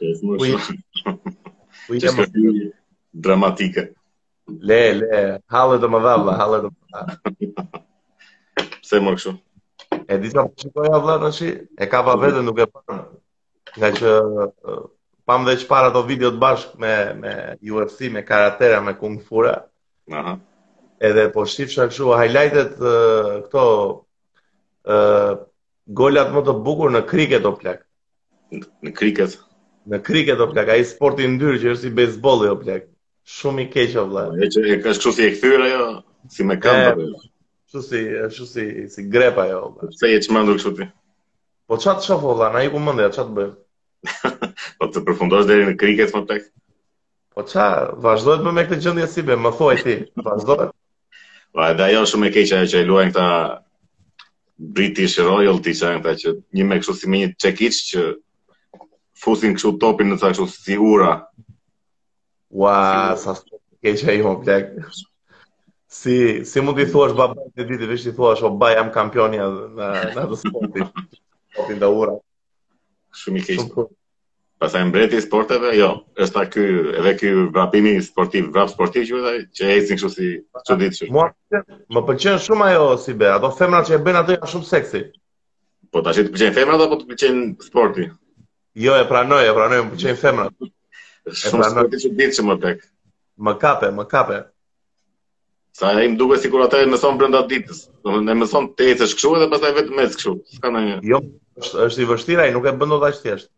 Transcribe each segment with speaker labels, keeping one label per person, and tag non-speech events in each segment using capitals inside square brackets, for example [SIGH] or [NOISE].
Speaker 1: është më
Speaker 2: Ui,
Speaker 1: shumë
Speaker 2: Ku Po i
Speaker 1: që
Speaker 2: kam
Speaker 1: s'ka qenë dramatike.
Speaker 2: le le, halle do më dha valla, halle do më dha.
Speaker 1: Pse më kështu?
Speaker 2: E di sa po shikoja vëlla tash, e kapa veten nuk e pa. Nga që eh, pam dhe çfarë ato video të bashk me me UFC, me karatera, me kung fura,
Speaker 1: Aha.
Speaker 2: edhe po shifsha kështu highlightet eh, këto eh, golat më të bukur në kriket o plak.
Speaker 1: Në kriket,
Speaker 2: Në kriket o plak, ai sporti i ndyrë që është si bejsbolli o plak. Shumë i keq o vëlla.
Speaker 1: ajo që e ka kështu si e kthyer ajo, si me
Speaker 2: E,
Speaker 1: këmbë. apo?
Speaker 2: Kështu si, kështu si si grepa ajo. o vëlla.
Speaker 1: Pse je çmendur kështu ti?
Speaker 2: Po çat shoh valla, na i ku mendja çat bëj.
Speaker 1: Po të përfundosh deri në kriket më tek.
Speaker 2: Po ça, vazhdohet më me këtë gjendje si be, më thuaj ti, vazhdohet.
Speaker 1: Po edhe ajo shumë e keqe ajo që e luajnë këta British Royalty që janë këta që një me kështu si me një çekiç që fusin kështu topin në ca kështu si ura.
Speaker 2: Ua, sa shumë e keq ai më plak. Si si mund t'i thuash babait të ditë, veç t'i thuash o baj jam kampioni në në atë sporti. Sportin da ura.
Speaker 1: Shumë i keq.
Speaker 2: Shumë kur.
Speaker 1: Pastaj mbreti i sporteve, jo, është ta ky, edhe ky vrapimi sportiv, vrap sportiv që ai që ecin kështu si çuditshëm.
Speaker 2: Mua më pëlqen- më pëlqen shumë ajo si be, ato femra që e bëjnë ato janë shumë seksi.
Speaker 1: Po tash të pëlqen femrat apo të pëlqen sporti?
Speaker 2: Jo, e pranoj, e pranoj, më pëlqejnë femrat.
Speaker 1: Është
Speaker 2: pra,
Speaker 1: Shumë
Speaker 2: në-
Speaker 1: sporti çuditshëm më tek. Më
Speaker 2: Më kape, më kape.
Speaker 1: Sa ai më duket sikur ata e mëson brenda ditës. Domethënë e mëson të ecësh kështu edhe pastaj vetëm ec kështu. S'ka ndonjë.
Speaker 2: Jo, është është i vështirë ai, nuk e bën dot aq thjesht.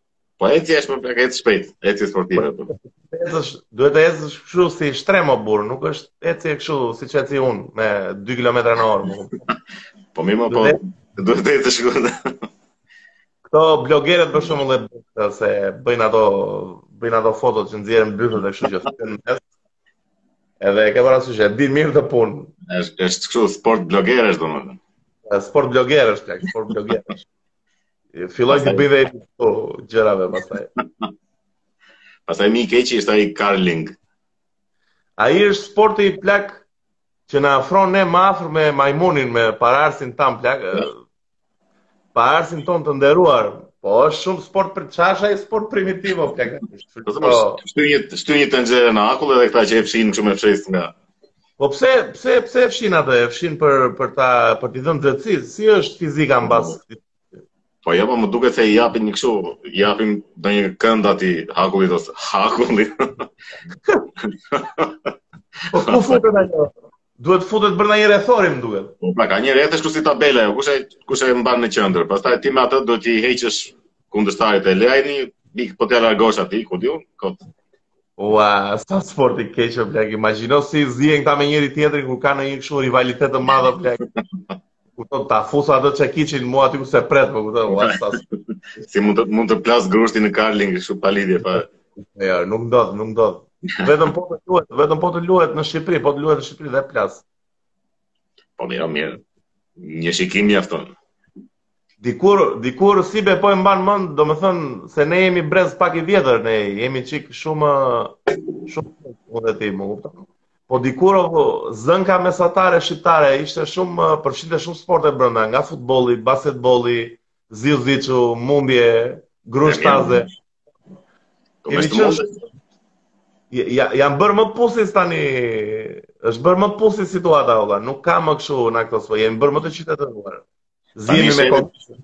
Speaker 1: Po eci është më pak ec shpejt, eci sportive. po.
Speaker 2: Ecësh, duhet të ecësh kështu si shtrem o burr, nuk është ecje kështu siç eci unë me 2 kilometra në orë. më kupton.
Speaker 1: Po mirë, më, po
Speaker 2: Duhet
Speaker 1: duhet të ecësh kështu.
Speaker 2: Këto blogerët për shembull e bëjnë këtë, se bëjnë ato bëjnë ato fotot që nxjerrin byfët dhe kështu që thënë mes. Edhe e ke parasysh, e din mirë të punë.
Speaker 1: Është është kështu sport blogerësh domethënë.
Speaker 2: E, Sport blogerësh, tek, sport blogerësh. E, Filloj të bëj dhe i këto gjërave pastaj.
Speaker 1: Pastaj më i keqi është ai curling.
Speaker 2: Ai është sporti i plak që na afron ne më afër me majmunin me pararsin tan plak. ë, Pararsin ton të nderuar. Po është shumë sport për çasha, i sport primitiv o plak.
Speaker 1: Po të mos shtyni shtyni tenxhere në akull edhe këta që e fshin kështu me fshes nga
Speaker 2: Po pse pse pse e fshin atë? E fshin për për ta për t'i dhënë nxehtësi. Si është fizika mbas këtij?
Speaker 1: Po jo, po më duket se i japin një kështu, i japin ndonjë kënd aty hakullit ose hakullit.
Speaker 2: Po ku futet ajo? Duhet futet brenda një rrethori më duket.
Speaker 1: Po pra ka një rreth është kështu si tabela ajo, kush e kush e mban në qendër. Pastaj ti me atë do t'i heqësh kundërshtarit e lajni, bik po t'ia largosh aty, ku diun, kot.
Speaker 2: Ua, sa sport i keq o plak. Imagjino si zihen këta me njëri tjetrin kur kanë një kështu rivalitet të madh o plak. Kupton, ta fusa atë çekiçin mua aty ku se pret, po kupton, ua, sa sport.
Speaker 1: Si mund të mund të plas grushti në curling kështu pa lidhje pa.
Speaker 2: jo, nuk ndodh, nuk ndodh. Vetëm po të luhet, vetëm po të luhet në Shqipëri, po të luhet në Shqipëri dhe plas.
Speaker 1: Po mirë, mirë. Një shikim mjafton.
Speaker 2: Dikur, dikur si be po e mban mend, domethënë se ne jemi brez pak i vjetër, ne jemi çik shumë shumë unë dhe ti, më kupton. Po dikur o, zënka mesatare shqiptare ishte shumë eh, përfshinte shumë sporte brenda, nga futbolli, basketbolli, ziu-ziçu, mundje, grushtaze.
Speaker 1: Po
Speaker 2: Jemi
Speaker 1: më
Speaker 2: qenë
Speaker 1: shumë
Speaker 2: Ja, ja- janë bërë më pusis tani, është bërë më pusis situata olla, nuk ka më kështu në këto sfo, jemi bërë më të qytetëruar. Zihemi me
Speaker 1: ishemi-
Speaker 2: kom.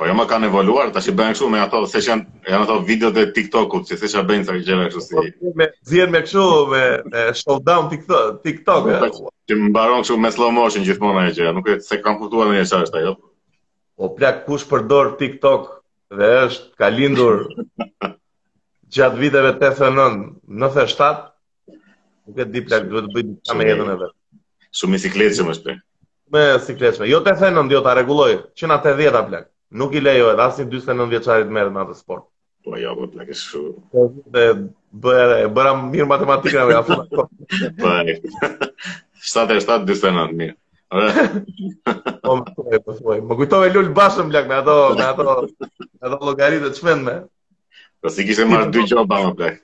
Speaker 1: Po jo më kanë evoluar, tash i bëjnë kështu me ato, se janë janë ato videot e TikTokut, që s'e bëjnë sa gjëra kështu si.
Speaker 2: me zihen me kështu me, me showdown TikTok, TikTok. e.
Speaker 1: që më mbaron kështu me slow motion gjithmonë ajo gjëra, nuk e se kam kuptuar ndonjë çfarë është ajo.
Speaker 2: O plak kush përdor TikTok dhe është ka lindur gjatë viteve 89, 97, nuk e di plak duhet të bëj diçka me jetën e vet.
Speaker 1: Shumë i sikletshëm është. bre.
Speaker 2: Me sikletshme. Jo 89, jo ta rregulloj. Që na 80 plak. Nuk i lejo edhe asnjë 49 vjeçarit merret me atë sport.
Speaker 1: Po jo, po plak është kështu.
Speaker 2: Dhe bëra bëra mirë matematikën me afër.
Speaker 1: Po. e- 77 49 mirë. Ora,
Speaker 2: Po më thuaj, po thuaj. Më kujtove Lul Bashën plak me ato me ato me ato llogaritë të çmendme.
Speaker 1: po si kishte marrë dy gjoba më plak.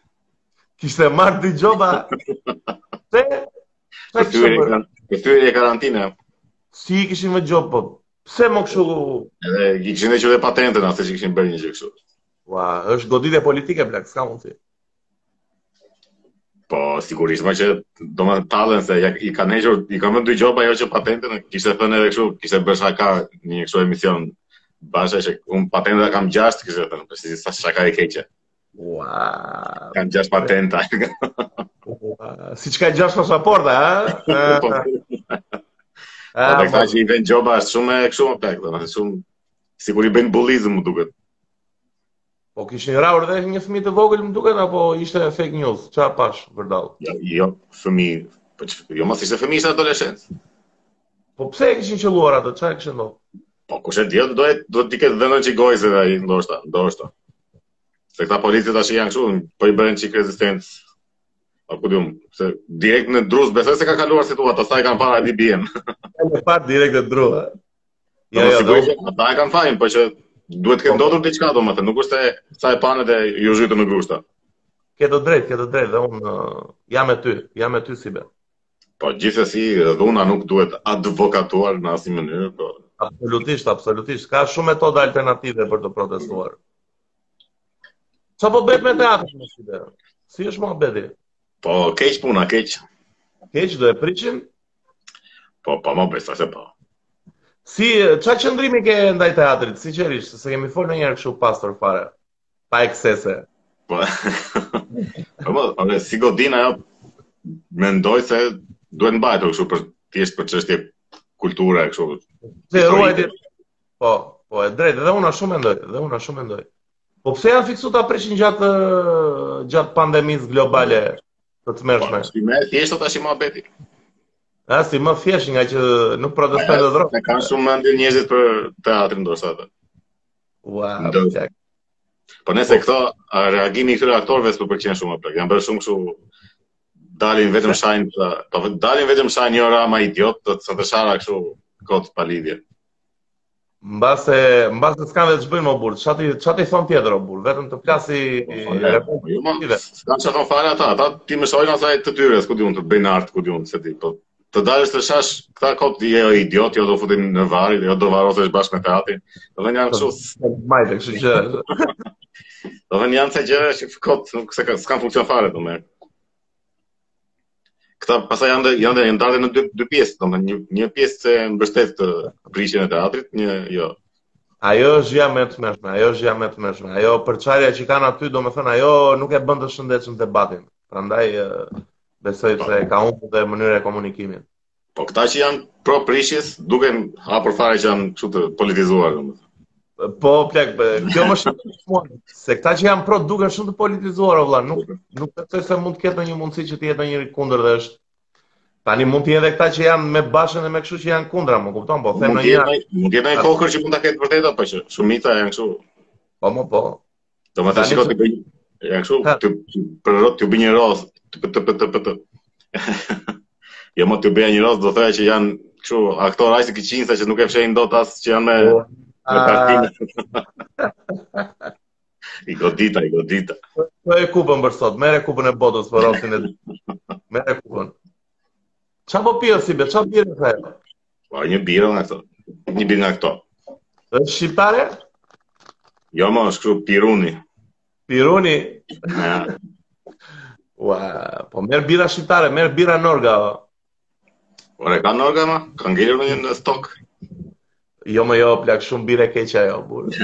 Speaker 2: Kishte marrë dy gjoba. Se Sa kishte
Speaker 1: Këtyre
Speaker 2: bërë?
Speaker 1: këtyre e karantina.
Speaker 2: Si i kishin me gjobë, po? Pse më kështu
Speaker 1: Edhe i kishin edhe qëre patentën atë që kishin bërë një gjë kështu.
Speaker 2: Ua, është goditje politike plak, s'ka mundsi.
Speaker 1: Po, sigurisht më që do më tallen se ja, i kanë hequr, i kanë vënë dy gjoba ajo që patentën, kishte thënë edhe kështu, kishte bërë shaka një kështu emision Basha që unë patenta kam 6, kishte thënë, për si sa shaka e keqe.
Speaker 2: Ua.
Speaker 1: Kam 6 patenta.
Speaker 2: [LAUGHS] ua, Si çka gjash pasaporta, ha?
Speaker 1: [LAUGHS] Po,
Speaker 2: Eh,
Speaker 1: Po, dhe këta
Speaker 2: eh,
Speaker 1: që i vënë gjoba është shumë e kështu më pak, domethënë shumë sikur i bëjnë bullizëm më duket.
Speaker 2: Po kishin rrahur dhe një fëmijë të vogël, më duket apo ishte fake news? Ç'a pash vërdall?
Speaker 1: Jo, jo fëmijë, po që- jo mos ishte fëmijë ishte adoleshent.
Speaker 2: Po pse e kishin qelluar atë? Ç'a e kishin ndodhur?
Speaker 1: Po kush e di, do të do të ketë dhënë që gojë se ai ndoshta, ndoshta. Se këta policët tash janë kështu, po i bëjnë çik rezistencë. Po ku diun, se direkt në drus besoj se ka kaluar situata, sa i kanë parë di bien.
Speaker 2: Ai pa direkt të drua.
Speaker 1: [LAUGHS] Jo, jo, Po. sigurisht ata e kanë fajin, po që duhet të ketë ndodhur diçka domethënë, nuk është se sa e panë dhe ju zhytën në grushta.
Speaker 2: Ke të drejtë, ke të drejtë, dhe unë uh, jam me ty, jam me ty si be.
Speaker 1: Po gjithsesi dhuna nuk duhet advokatuar në asnjë mënyrë, po
Speaker 2: Absolutisht, absolutisht. Ka shumë metoda alternative për të protestuar. Qa po bëhet me teatrin më si be? Si është mua bedi?
Speaker 1: po keq puna, keq.
Speaker 2: Keq do e priqim?
Speaker 1: Po pa më besa se po.
Speaker 2: Si, qa qëndrimi ke ndaj teatrit? Sinqerisht, se kemi folë në njerë këshu pastor fare. Pa eksese.
Speaker 1: Po. Po, mo, ore, si godin ajo mendoj se duhet mbajtur kështu për thjesht për çështje kulture kështu.
Speaker 2: Se
Speaker 1: Historike.
Speaker 2: ruajti... Po, po, e drejtë, dhe unë ashtu mendoj, dhe unë ashtu mendoj. Po pse janë fiksu ta prishin gjatë, uh, gjatë pandemisë globale të të
Speaker 1: Po,
Speaker 2: mërshme?
Speaker 1: si më thjesht tash i mohabeti.
Speaker 2: A, si më thjesht nga që nuk protestojnë të drogë.
Speaker 1: Ne kanë shumë mendje njerëzit për teatrin ndoshta atë.
Speaker 2: Ua,
Speaker 1: Do-
Speaker 2: plak.
Speaker 1: Po nëse këto a, reagimi i këtyre aktorëve s'po pëlqen shumë apo janë bërë shumë kështu dalin vetëm shajnë, pra- po vet- dalin vetëm shajnë një rama idiot, do të thotë shara kështu kot pa lidhje.
Speaker 2: Mbase, mbase s'kan vetë ç'bëjnë më burr. Çati çati thon tjetër o burr, vetëm të flasi
Speaker 1: Po, Jo, ma, s'kan që thon fare ata, ata ti më shojnë asaj të tyre, s'ku di unë të bëjnë art, ku di unë, se ti, po të dalësh të shash këta kot jo idiot, jo do futin në varri, jo do varrosesh bashkë me teatrin. Do vjen janë kështu,
Speaker 2: majtë, kështu që
Speaker 1: do vjen janë se gjëra që kot nuk se ka- s'kan funksion fare domethënë. Këta pastaj janë dhe- janë dhe- janë ndarë në dy dy pjesë, domethënë një një pjesë se mbështet të prishjen e teatrit, një jo.
Speaker 2: ajo është ja më e tmeshme, ajo është ja më e tmeshme. Ajo përçarja që kanë aty, domethënë ajo nuk e bën të shëndetshëm debatin. Prandaj ë, besoj se ka humbur dhe mënyra e komunikimit.
Speaker 1: Po këta që janë pro prishjes duken hapur fare që janë kështu të politizuar domethënë.
Speaker 2: Po, plak, bë, kjo më shëndetshëm mua, se këta që janë pro duken shumë të politizuar o vëlla, nuk nuk besoj se mund të ketë ndonjë mundësi që të jetë ndonjëri kundër dhe është Tani mund të jenë edhe këta që janë me bashën e me kështu që janë kundra, më kupton, po them
Speaker 1: Mund
Speaker 2: në
Speaker 1: të
Speaker 2: një
Speaker 1: jetë ai- mund të jetë ai kokër që mund ta ketë vërtet apo që shumica janë kështu.
Speaker 2: Po, më po.
Speaker 1: Domethënë
Speaker 2: Tani
Speaker 1: shikoj
Speaker 2: se-
Speaker 1: të bëj janë kështu
Speaker 2: Ha.
Speaker 1: të për rrot të bëj një rost, të të të të të. [LAUGHS] Jo më të bëj një rost, do thoya që janë kështu aktorë aq të këqinjtë që nuk e fshehin dot as që janë me me partinë. [LAUGHS] I godita, i godita.
Speaker 2: Po e kupën për sot, merre kupën e botës për rastin e ditë. Merre kupën. Qa po pio si be, qa pio e
Speaker 1: Po një birë nga këto. Një birë nga këto.
Speaker 2: Është shqiptare?
Speaker 1: Jo më është kështu
Speaker 2: [LAUGHS]
Speaker 1: piruni.
Speaker 2: Piruni?
Speaker 1: Ja.
Speaker 2: Ua, po merë bira shqiptare, merë bira norga. o.
Speaker 1: Ore kanë orga ma? Kanë ngelur në një stok.
Speaker 2: Jo më jo, plak shumë bire keqe ajo, burë.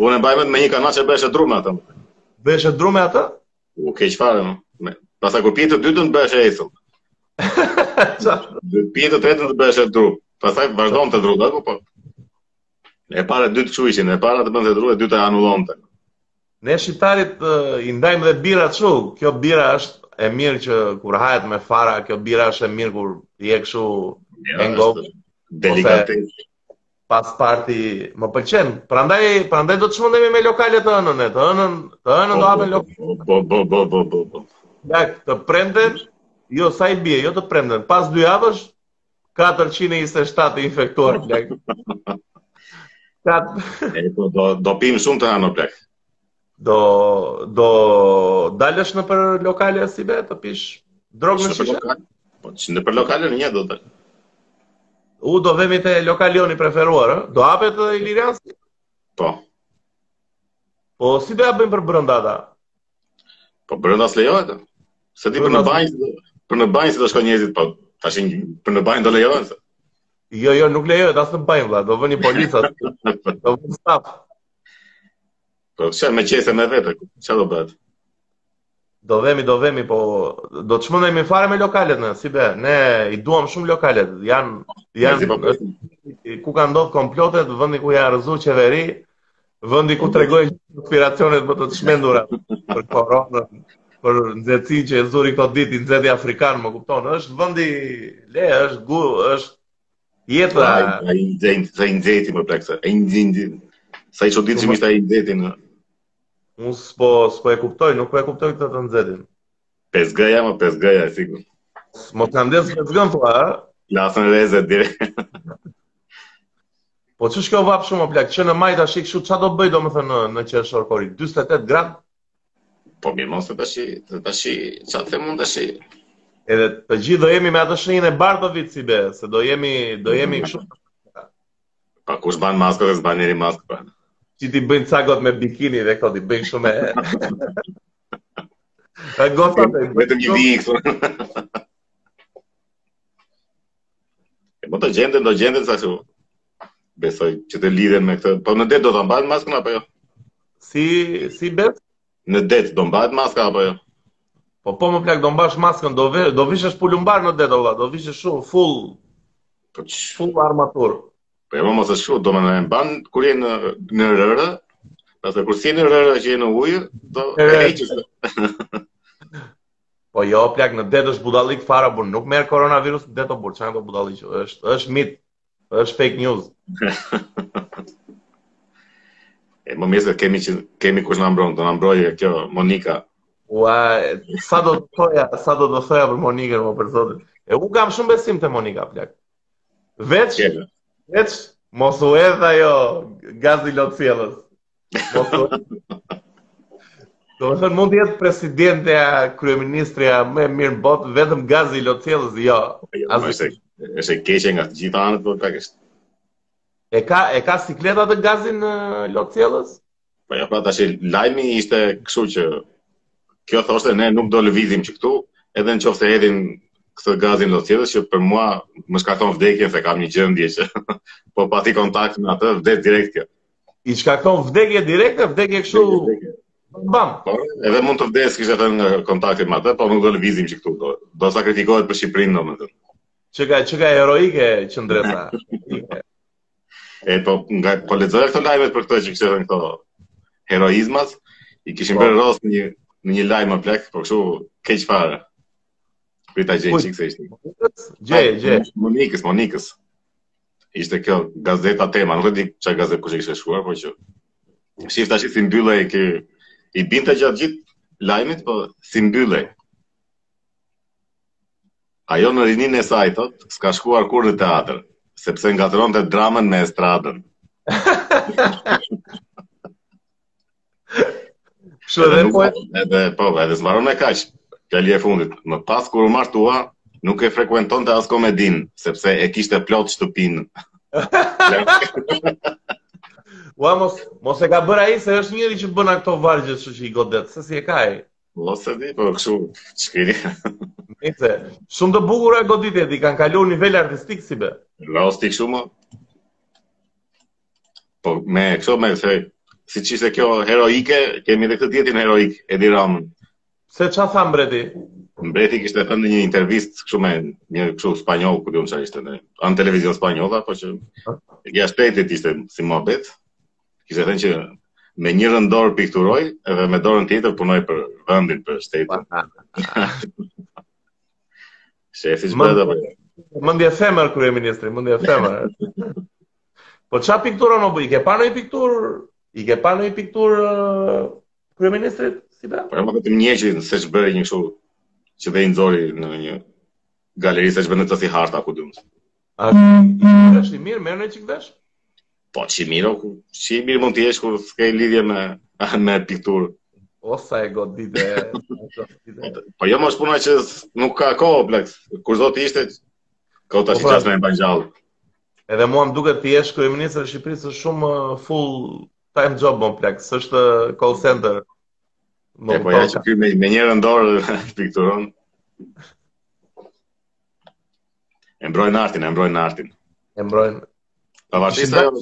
Speaker 1: Unë e mbaj mend me një kanaçe bëshë drumë atë.
Speaker 2: Beshe drume atë?
Speaker 1: U keq fare më. Me- Pastaj kur pije të dytën bëhesh e ecëll.
Speaker 2: Qa?
Speaker 1: Pije të tretën të bëhesh e drup. Pastaj vazhdon të drut, apo po. E para dytë kështu ishin, e para të bënte dru, e dyta e anullonte.
Speaker 2: Ne shqiptarit eh, i ndajmë dhe bira çu. Kjo bira është e mirë që kur hahet me fara, kjo bira është e mirë kur je kështu e ngop.
Speaker 1: Delikatesë.
Speaker 2: pas parti më pëlqen. Prandaj prandaj do të shmendemi me lokale të ënën, e, të ënën, të ënën
Speaker 1: Po,
Speaker 2: do hapen lokale
Speaker 1: Bo bo bo bo bo bo.
Speaker 2: të premten, jo sa i bie, jo të premten. Pas dy javësh 427 të infektuar plak. Kat
Speaker 1: [LAUGHS]
Speaker 2: [LAUGHS]
Speaker 1: E po do do pim shumë të hano plak.
Speaker 2: do do dalësh në për lokale si be të pish drogë
Speaker 1: Në
Speaker 2: në
Speaker 1: për
Speaker 2: shishe.
Speaker 1: lokal. Po që në për lokale në një do të.
Speaker 2: U do vemi te lokalioni preferuar, ë? Do hapet edhe Iliriansi?
Speaker 1: Po.
Speaker 2: Po si do ja bëjmë për brenda ata?
Speaker 1: Po brenda s'lejohet. Se ti për në
Speaker 2: Brenda-
Speaker 1: banjë, për në banjë si do shkojnë njerëzit, po tash për në banjë do lejohen. se.
Speaker 2: Jo, jo, nuk lejohet as në banjë vlla, do vëni policat, do vëni staf,
Speaker 1: Po çfarë me qese me vete, ku- çfarë do bëhet?
Speaker 2: do vemi, do vemi, po do të shmendemi fare me lokalet ne, si be, ne i duam shumë lokalet, janë
Speaker 1: Njerëzit po
Speaker 2: janë ku ka ndodh komplotet, vendi ku ja rrëzu qeveri, vendi ku tregoi inspiracionet më të të shmendura për koronën, për nxehtësinë që e zuri këto ditë i nxehti afrikan, më kupton, është vendi le, është gu, është jeta.
Speaker 1: Ai ai nxehin, sa i nxehti më plak se. Ai nxehin. Sa i çuditshëm ishte ai nxehti në
Speaker 2: Unë s'po, s'po e kuptoj, nuk po e kuptoj këtë të nxehtin.
Speaker 1: 5G-ja, më 5G-ja, sigurt.
Speaker 2: Mos na ndes me zgën thua, ë?
Speaker 1: Lasën reze direkt.
Speaker 2: Po ç'është kjo vap shumë o plak, që në maj tash kështu ç'a do bëj domethënë në, në qershor kori? 48 gradë,
Speaker 1: Po mirë, mos se tash, se tash çfarë them unë tash?
Speaker 2: edhe të gjithë do jemi me atë shenjën e bardhë të vit si be, se do jemi do jemi kështu
Speaker 1: Pa kush ban maskë dhe s'ban njeri maskë pra.
Speaker 2: që ti bëjnë ca gotë me bikini dhe këto ti bëjnë shumë e... E gota të
Speaker 1: Vetëm një vijë këtu. [LAUGHS] E më të gjenden, do gjenden sa kështu. Besoj që të lidhen me këtë. Po në det do ta mbajnë maskën apo jo?
Speaker 2: Si, si bet?
Speaker 1: Në det do mbahet maska apo jo?
Speaker 2: Po po më plak do mbash maskën, do, ve, do vishesh pulumbar në det, olla, do vishesh shumë full,
Speaker 1: Po ç-
Speaker 2: full armatur.
Speaker 1: po e më mos është kështu, do më në e mban kur je në në rërë, pastaj kur si në rërë që je në ujë, do
Speaker 2: E,
Speaker 1: e
Speaker 2: e.
Speaker 1: heqësh.
Speaker 2: Po jo, plak në det është budallik fara bur, nuk merr koronavirus në det o bur, çan do budallik, është është mit, është fake news.
Speaker 1: E më mirë se kemi që kemi kush na mbron, do na mbrojë kjo Monika.
Speaker 2: Ua, e, sa do të thoja, sa do të thoja për Monikën, më për zotin. E unë kam shumë besim te Monika, plak. Veç,
Speaker 1: Që
Speaker 2: veç mos u edh ajo gazi lot sjellës. Mos u edh. Do të thënë mund të jetë presidente, kryeministrja më e mirë në botë, vetëm gazi lot sjellës, jo.
Speaker 1: Ajo është është e keqe nga të gjitha anët, po pak është.
Speaker 2: E ka e ka sikleta të gazin në lot sjellës?
Speaker 1: Po ja pra tash lajmi ishte kështu që kjo thoshte ne nuk do lëvizim që këtu, edhe në qoftë se hedhin këtë gazin lotjetës që për mua më shkakton vdekjen se kam një gjendje që [LAUGHS] po pati kontakt me atë vdes direkt kjo.
Speaker 2: i shkakton vdekje direkte, vdekje kështu
Speaker 1: Vdekje.
Speaker 2: bam.
Speaker 1: Po, edhe mund të vdes kishte thënë nga kontakti me atë, po nuk do lëvizim që këtu, do, do sakrifikohet për Shqipërinë domethënë.
Speaker 2: Çka çka heroike
Speaker 1: [LAUGHS]
Speaker 2: qendresa.
Speaker 1: E po nga po lexoja këto lajmet për këtë që kishte thënë këto heroizmat, i kishin
Speaker 2: Po.
Speaker 1: bërë rost një në një lajm më plak, po kështu keq fare. Prita gjej
Speaker 2: Kuj?
Speaker 1: çik se ishte.
Speaker 2: Gjej, gjej.
Speaker 1: Ah, Monikës, Monikës. Ishte kjo gazeta tema, nuk e di çfarë gazetë kush e kishte shkruar, po që shif tash si mbyllej kë i binte gjatë gjithë lajmit, po si mbyllej. Ajo në rinin e saj thot, s'ka shkuar kur në teatr, sepse ngatronte dramën me estradën.
Speaker 2: Kështu edhe
Speaker 1: nuk-
Speaker 2: po
Speaker 1: edhe po, edhe zbaron me kaq. Fjali e fundit, më pas kur u martua, nuk e frekuentonte as komedin, sepse e kishte plot shtëpinë.
Speaker 2: ua mos mos e ka bër ai se është njëri që bën ato vargje kështu që i godet, se si e ka ai.
Speaker 1: Mos e di, po kështu shkiri.
Speaker 2: Nice. Shumë të bukur e goditjet, i kanë kaluar nivel artistik si be.
Speaker 1: Rosti kështu më. Po me kështu me se si ishte kjo heroike, kemi edhe këtë dietin heroik Edi Ramën.
Speaker 2: Se ç'a tha mbreti?
Speaker 1: Mbreti kishte thënë në një intervistë kështu me një kështu spanjoll, ku diun çfarë ishte në anë televizion spanjolla, po që e gja shtetit ishte si mohabet. Kishte thënë që me një rëndor pikturoj edhe me dorën tjetër punoj për vendin, për shtetin. Shefi
Speaker 2: Ma-
Speaker 1: zbret apo jo?
Speaker 2: Mendje femër kryeministri, mendje femër. Po ç'a pikturon o bu? I ke pa ndonjë pikturë? I ke pa ndonjë pikturë ë, kryeministrit si be?
Speaker 1: Po e më vetëm një që se ç'bëri një kështu që dhe i nxori në një galeri se ç'bën të si harta ku diun.
Speaker 2: A është është i mirë, merr në çik vesh?
Speaker 1: Po ç'i mirë, o, ku- ç'i mirë mund të jesh kur s'ke lidhje me [LAUGHS] me pikturë.
Speaker 2: O sa e godite.
Speaker 1: Po jo më është puna që s- nuk ka kohë, plak. Kur zoti ishte, kohë tash
Speaker 2: Po, pra.
Speaker 1: qas me banjall.
Speaker 2: Edhe mua më duket ti jesh kryeministër i Shqipërisë është shumë uh, full time job më plak, s'është uh, call center. Më
Speaker 1: E po ja që ky me, me njërën dorë [LAUGHS] pikturon. E mbrojnë artin, e mbrojnë artin.
Speaker 2: e mbrojnë.
Speaker 1: Pavarësisht ajo,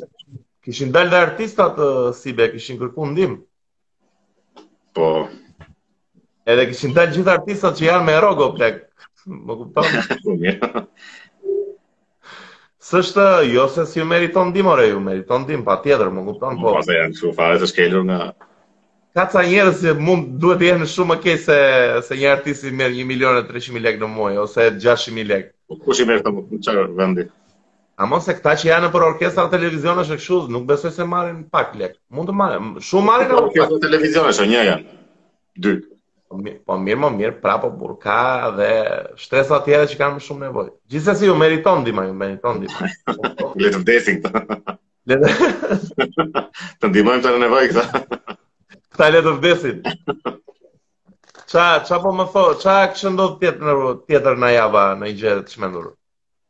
Speaker 2: Kishin dalë dhe artistat ë, Sibe, kishin kërkuar ndim.
Speaker 1: po,
Speaker 2: Edhe kishin dalë gjithë artistat që janë me rogo plak. [LAUGHS] Më kupton?
Speaker 1: po mirë.
Speaker 2: S'është jo se si ju meriton ndim, ore, ju meriton ndim patjetër, më kupton? Po.
Speaker 1: [LAUGHS] Po se janë kështu fare të shkelur nga
Speaker 2: Ka ca njerëz që mund duhet të jenë shumë më keq se se një artist i merr 1 milion e 300 mijë lekë në muaj ose 600 mijë lekë.
Speaker 1: Po kush i merr këtë në çfarë vendi?
Speaker 2: A mos se këta që janë për orkestra televizionesh e kështu, nuk besoj se marrin pak lekë. Mund të marrin, shumë marrin
Speaker 1: Po
Speaker 2: apo
Speaker 1: kjo
Speaker 2: pak.
Speaker 1: është televizion është një janë. Dy.
Speaker 2: Po mi- Po mirë, më mirë, prapo burka dhe shtresa tjera që kanë më shumë nevojë. Gjithsesi ju meriton ndihma, ju
Speaker 1: [LAUGHS]
Speaker 2: meriton ndihma.
Speaker 1: Le të vdesin këta.
Speaker 2: Le të
Speaker 1: Të ndihmojmë të në nevojë këta.
Speaker 2: këta le të vdesin. Ça, ça po më thon, ça kishë ndodhur tjetër në tjetër në java në një gjë të çmendur.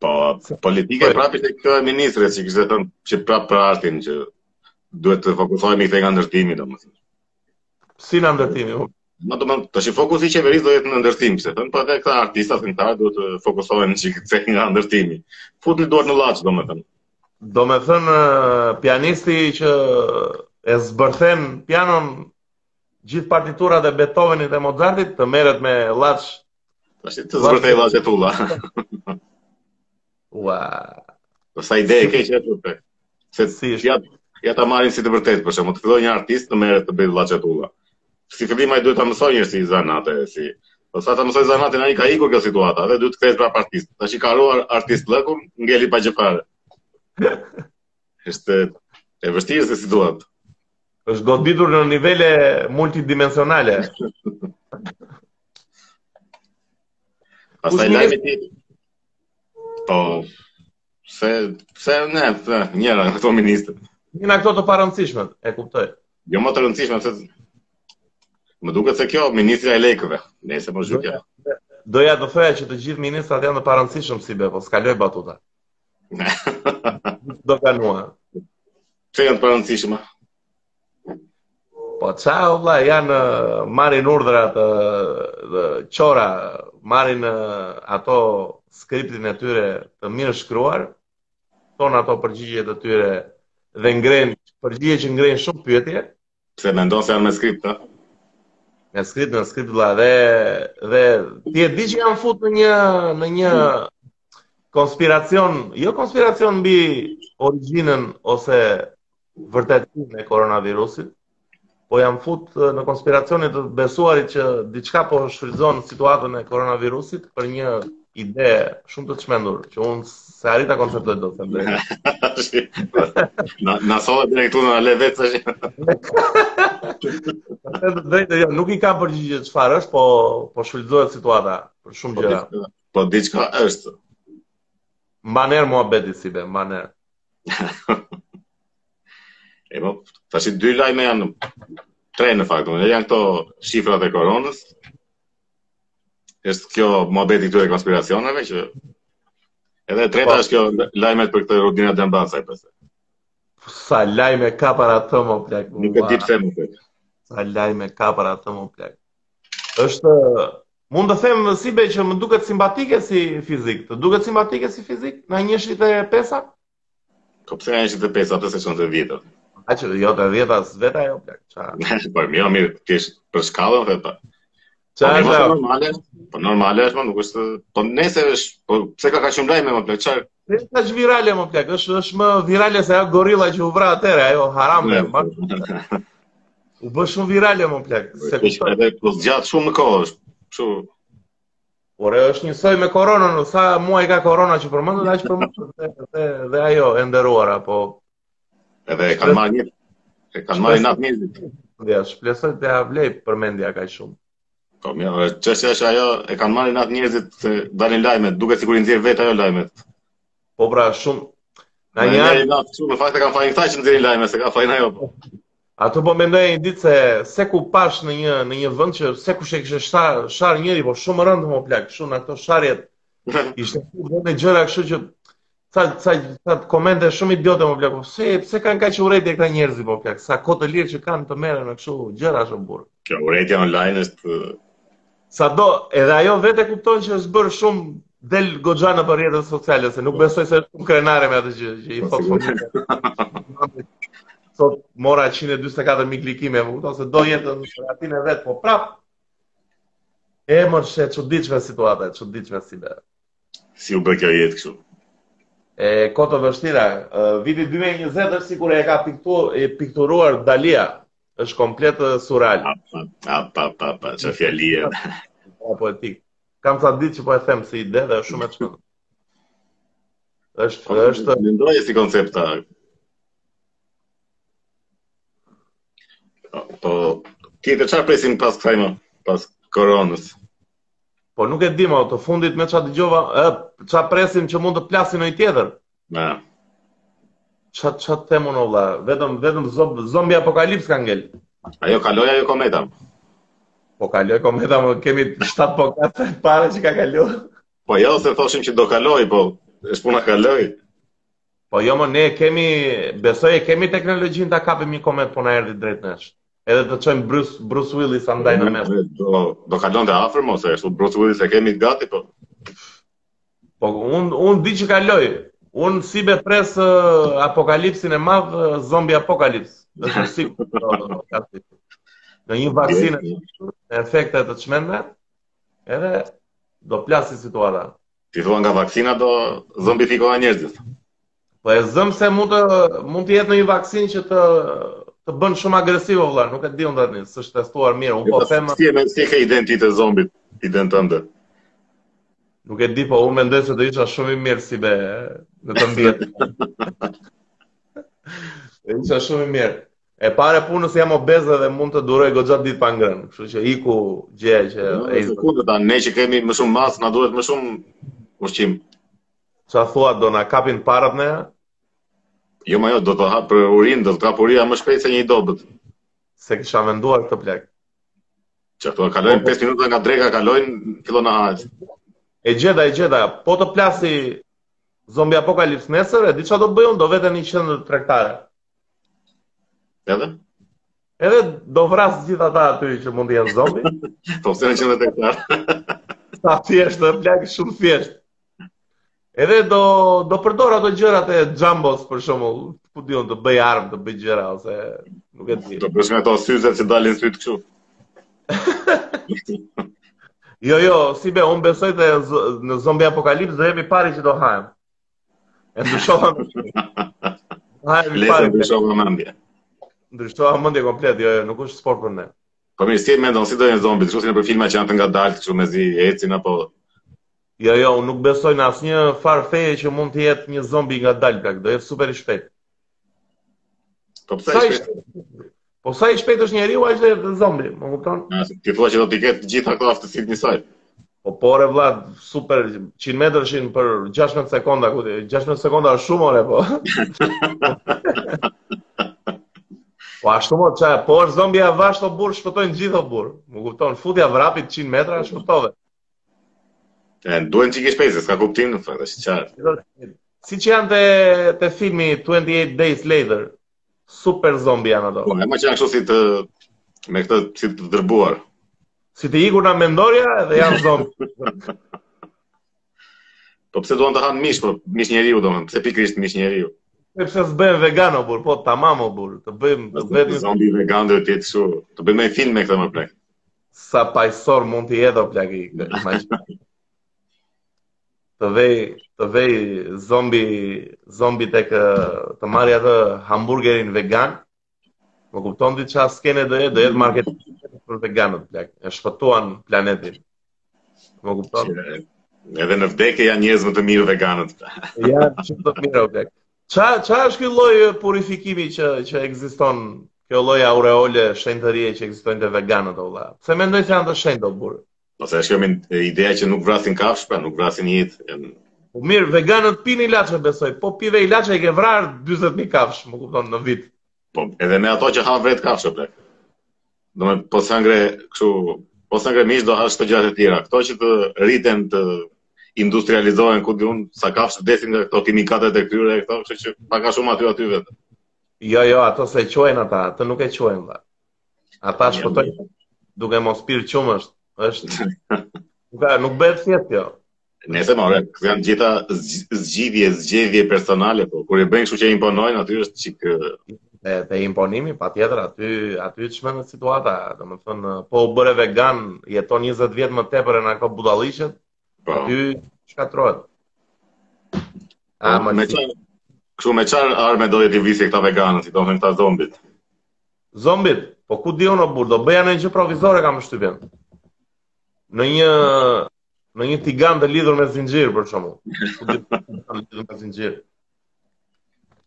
Speaker 1: Po politike prapë ishte këtë e ministre që kishte thënë që prapë për artin që duhet të fokusohemi këthe nga ndërtimi domethënë.
Speaker 2: Si na ndërtimi? u?
Speaker 1: Ma do të tash fokusi i qeverisë do jetë në ndërtim, se thënë po edhe këta artistat këngëtarë duhet të fokusohen që këthe nga ndërtimi. Futni duart në llaç domethënë.
Speaker 2: Do me thënë, ë, pianisti që e zbërthen pianon gjithë partiturat e Beethovenit e Mozartit të merret me llaç.
Speaker 1: Tash të zbërtej llaçet tulla.
Speaker 2: Ua,
Speaker 1: Po sa ide e keq e tupe. Se
Speaker 2: si është?
Speaker 1: ja ja ta marrin si të vërtetë për shembull, të filloj një artist të merret të bëjë llaçet tulla. Si fillim ai duhet ta mësoj njerëz si zanate, si Po sa ta mësoj zanatin ai ka ikur kjo situata, dhe duhet të kthehet prapë artist. Tash i ka ruar artist lëkun, ngeli pa gjë fare. Është e vështirë se situatë.
Speaker 2: Është goditur në nivele multidimensionale.
Speaker 1: Pastaj
Speaker 2: Kush
Speaker 1: lajmi ti. Po se se ne, se, njëra nga këto ministër.
Speaker 2: Një nga këto të parëndësishmet, e kuptoj.
Speaker 1: Jo më të rëndësishme se më duket se kjo ministra e lekëve. Nëse po zhytja.
Speaker 2: Doja të thoja që të gjithë ministrat janë të parëndësishëm si be, po s'kaloj batuta. Do kanua.
Speaker 1: Pse janë të parëndësishme?
Speaker 2: Po qa, o vlla, janë ë, marrin urdhrat ë, dhe qora, marrin ë, ato skriptin e tyre të mirë shkruar, ton ato përgjigje të tyre dhe ngrenë përgjigje që ngrenë shumë pyetje,
Speaker 1: Pse mendon se janë me skript, ha? [LAUGHS]
Speaker 2: me skript në skript vlla dhe dhe ti e di që janë fut në një në një konspiracion, jo konspiracion mbi origjinën ose vërtetësinë e koronavirusit, po jam fut eh, në konspiracionin të besuarit që diçka po shfrytëzon situatën e koronavirusit për një ide shumë të çmendur, që unë se arrita konceptoj dot them drejt.
Speaker 1: na na solla direkt unë na le vetë tash.
Speaker 2: Të them drejtë, jo, nuk i kam përgjigje çfarë është, po po shfrytëzohet situata për shumë
Speaker 1: Po
Speaker 2: gjëra.
Speaker 1: diçka- Po diçka është.
Speaker 2: Mbaner muhabeti si be, mbaner.
Speaker 1: E po tash dy lajme janë tre në fakt, unë janë këto shifrat e koronës. Është kjo mohabeti këtyre konspiracioneve që edhe e treta
Speaker 2: Po.
Speaker 1: është kjo lajmet për këtë Rudina Dembasa e pse.
Speaker 2: Sa lajme ka para të më plak.
Speaker 1: Nuk e di pse më thënë.
Speaker 2: Sa lajme ka para të më plak. Është mund të them si be që më duket simpatike si fizik. Të duket simpatike si fizik në një shite e pesa?
Speaker 1: Po pse janë që të pesa, pse se çon të vjetër. [LAUGHS]
Speaker 2: A që jo të vjeta së veta jo plak. Qa,
Speaker 1: Po mirë, mirë, kesh për shkallën dhe pa. Po
Speaker 2: qa
Speaker 1: mirë,
Speaker 2: është
Speaker 1: mos e
Speaker 2: ajo?
Speaker 1: normale. Po normale është, ma, nuk është. Po nesër është, po pse ka kaq shumë lajme më plot çfarë?
Speaker 2: Se është virale më plak, është, është më virale se ajo gorilla që u vra atëre, ajo haram dhe,
Speaker 1: po,
Speaker 2: ma, u bë shumë virale më plak. Se
Speaker 1: Është
Speaker 2: kuptoj.
Speaker 1: Edhe po zgjat shumë kohë është. Kështu,
Speaker 2: Ore, është njësoj me koronën, sa muaj ka korona që përmendët, aq përmendët dhe, dhe, dhe ajo e nderuara, po
Speaker 1: edhe e kanë marrë një e kanë marrë natë njerëzit.
Speaker 2: Dhe shplesoj të avlej përmendja ka shumë.
Speaker 1: Po mirë, ore, çështja është ajo, e kanë marrë natë njerëzit se dalin lajmet, duket sikur i nxjerr vetë ajo lajmet.
Speaker 2: Po pra shumë
Speaker 1: Na
Speaker 2: në një
Speaker 1: janë
Speaker 2: anë,
Speaker 1: natë shumë, në fakt e kanë fajin këta që nxjerrin lajme, se ka fajin ajo. po.
Speaker 2: ato po mendoj një ditë se se ku pash në një në një vend që se kush e kishte shar, shar njëri, po shumë rëndë më plak, shumë në ato sharjet ishte shumë dhe gjëra kështu që Sa sa sa komente shumë idiote më blaq. Pse pse kanë kaq urrëti këta njerëz po blaq? Sa kohë të lirë që kanë të merren me kështu gjëra shumë burr.
Speaker 1: Kjo urrëtia online është ë,
Speaker 2: Sado edhe ajo vetë e kupton që është bërë shumë del goxha në për rrjetet sociale, se nuk besoj se është shumë krenare me atë gjë që i
Speaker 1: Po,
Speaker 2: thot fëmijëve. Sot mora 144.000 klikime, më kupton se do jetë në shkatinë e vet, po prap e mërë që e çuditshme situata, e çuditshme si be.
Speaker 1: si u bë kjo jetë kështu.
Speaker 2: E koto vështira, e, viti 2020 është sikur e ka piktu- e pikturuar Dalia, është komplet e, surreal.
Speaker 1: A pa a pa pa pa çfarë fjali e.
Speaker 2: Po poetik. Kam sa ditë që po e them si ide dhe është shumë e çmendur. Është është
Speaker 1: mendoj si koncept ta. Po tjetër çfarë presim pas kësaj më, pas koronës.
Speaker 2: po nuk e di më të fundit me çfarë dëgjova, ë çfarë presim që mund të plasin ndonjë tjetër.
Speaker 1: Na,
Speaker 2: Ç'a ç'a them unë valla, vetëm vetëm zomb- zombi apokalips ka ngel.
Speaker 1: ajo kaloi ajo kometa.
Speaker 2: Po kaloj kometa më kemi 7 pokate pare që ka kaluar.
Speaker 1: Po jo se thoshim që do kaloj, po është puna kaloj.
Speaker 2: Po jo më ne kemi besoj e kemi teknologjinë ta kapim një komet po na erdhi drejt nesh. Edhe të çojmë Bruce Bruce Willis andaj
Speaker 1: Mm,
Speaker 2: në mes.
Speaker 1: Do do kalonte afër mos e ashtu Bruce Willis e kemi gati po.
Speaker 2: Po un un di që kaloj. Un si be pres ë, apokalipsin e madh, ë, zombi apokalips. Është sigurt. ë, ka si. Në një vaksinë me efekte të çmendme, edhe do plasi situata.
Speaker 1: Ti thua nga vaksina do zombifikohen njerëzit.
Speaker 2: Po e zëm se mund të mund të jetë në një vaksinë që të të bën shumë agresiv vëlla, nuk e di unë tani, s'është testuar mirë. Un po them,
Speaker 1: si e me- si e ke identitë e zombit, ident tënde.
Speaker 2: nuk e di, po unë mendoj se do isha shumë i mirë si be në të mbjet. Do isha shumë i mirë. E pare punës jam obeze dhe mund të duroj goxha ditë pa ngrënë, kështu që iku gjë që
Speaker 1: E
Speaker 2: e
Speaker 1: kundër ta, ne që kemi më shumë masë, na duhet më shumë ushqim.
Speaker 2: çfarë thua do na kapin parat ne?
Speaker 1: Jo, ma jo, do të hap për urinë, do të kap uria më shpejt se një i dobët.
Speaker 2: Se kisha menduar këtë plak.
Speaker 1: Që ato kalojnë 5 minuta nga dreka, kalojnë, fillon na hahet.
Speaker 2: E gjeda, e gjeda, po të plasi zombi apokalips nesër, e di çfarë do bëjun, do veten një qendër tregtare.
Speaker 1: Edhe?
Speaker 2: Edhe do vras gjithë ata aty që mund të jenë zombi.
Speaker 1: Po pse në qendër tregtare?
Speaker 2: Sa thjesht dhe plak shumë thjesht. Edhe do do përdor ato gjërat e Jambos për shembull, ku diun të bëj armë, të bëj gjëra ose nuk e di.
Speaker 1: Do bësh me Po, ato syzet që dalin syt kështu.
Speaker 2: Jo, jo, si be, unë besoj të z- në zombi apokalips do jemi pari që do hahem. E ndryshova [LAUGHS] Hahem i
Speaker 1: Lesa
Speaker 2: pari.
Speaker 1: të shohë mendje.
Speaker 2: Ndryshova mendje komplet, jo, jo, nuk është sport për ne.
Speaker 1: Po mirë, si e mendon si do jenë zombit, kështu si në për filma që janë të ngadaltë kështu mezi ecin apo
Speaker 2: Jo, jo, unë nuk besoj në asnjë farë feje që mund të jetë një zombi nga dalë plak, do jetë super i shpejt.
Speaker 1: Po pse?
Speaker 2: Sa i
Speaker 1: ishte-
Speaker 2: shpejt? Po sa i shpejt është njeriu, aq do jetë zombi, më kupton?
Speaker 1: Na, se Ti thua që do t'i ketë gjitha këto aftësitë njësoj.
Speaker 2: Po por e vlla, super 100 metërshin për 16 sekonda, ku ti- 16 sekonda është shumë ore, po. po ashtu më çaj, po është zombi avash o burr, shpëtojnë gjithë o burr. Më kupton, futja vrapit 100 metra, shpëtove.
Speaker 1: E, Duhen çike shpejt, se s'ka kuptim në fakt, është qartë.
Speaker 2: Si që janë te, te filmi 28 Days Later, super zombi janë ato.
Speaker 1: Po, e më që janë kështu si të me këtë si të dërbuar.
Speaker 2: Si të ikur nga mendorja dhe janë zombi.
Speaker 1: Po pse duan të hanë mish, po mish njeriu domethënë, pse pikërisht mish njeriu?
Speaker 2: Sepse s'bëjmë vegan o burr, po tamam o burr, të bëjmë të
Speaker 1: Vetëm
Speaker 2: bëjmë
Speaker 1: zombi vegan do të jetë kështu. Të bëjmë një film me këtë më plak.
Speaker 2: sa pajsor mund të jetë o plak i imagjino. Të vej, të vej zombi, zombi tek ë, të marrë atë hamburgerin vegan. Më kupton ti çfarë skene do jetë, do jetë marketing për veganët plak. E shpëtuan planetin. Më
Speaker 1: [LAUGHS]
Speaker 2: kupton?
Speaker 1: Që, Edhe në vdekje janë njerëz më të mirë veganët.
Speaker 2: Ja, shumë të mirë o plak. Ça ça është ky lloj purifikimi që që ekziston? Kjo lloj aureole shenjtërie që ekzistojnë te veganët o vëlla. Pse mendoj se janë të shenjtë o burr?
Speaker 1: Ose është kjo min- ideja që nuk vrasin kafsh, pra nuk vrasin jetë. janë-
Speaker 2: Po mirë, veganët pinë ilaçe besoj, po pive ilaçe e ke vrarë 40.000 kafsh, më kupton, në vit.
Speaker 1: Po edhe me ato që han vret kafshë plak. Domethënë po sangre kështu, po sangre mish do hash çdo gjë të tjera. Kto që të rriten të industrializohen ku diun sa kafsh vdesin nga këto kimikatet e këtyre e këto, kështu që pak a shumë aty aty vetë.
Speaker 2: Jo, jo, ato se quajnë ata, ato nuk e quajnë valla. Ata
Speaker 1: Jo,
Speaker 2: shpëtojnë duke mos pirë qumësht. Është
Speaker 1: [LAUGHS]
Speaker 2: nuk ka- nuk bëhet thjesht jo.
Speaker 1: Nëse more, këto janë gjitha zgj- zgjidhje, zgjedhje personale, po kur e bëjnë kështu që imponojnë aty është çik ë,
Speaker 2: E, te imponimi, pa tjetër, aty, aty të shmenë situata, dhe më thënë, po u bëre vegan, jeton 20 vjetë më tepër e në ka budalishet,
Speaker 1: po.
Speaker 2: aty shkatrohet. A, më
Speaker 1: Po, me çfarë kështu me çfarë armë do të visë këta veganët, si thonë këta zombit.
Speaker 2: Zombit, po ku di unë o burr, do bëja në gjë provizore kam shtypjen. Në një në një tigan të lidhur me zinxhir për shembull. Ku di të lidhur me zinxhir.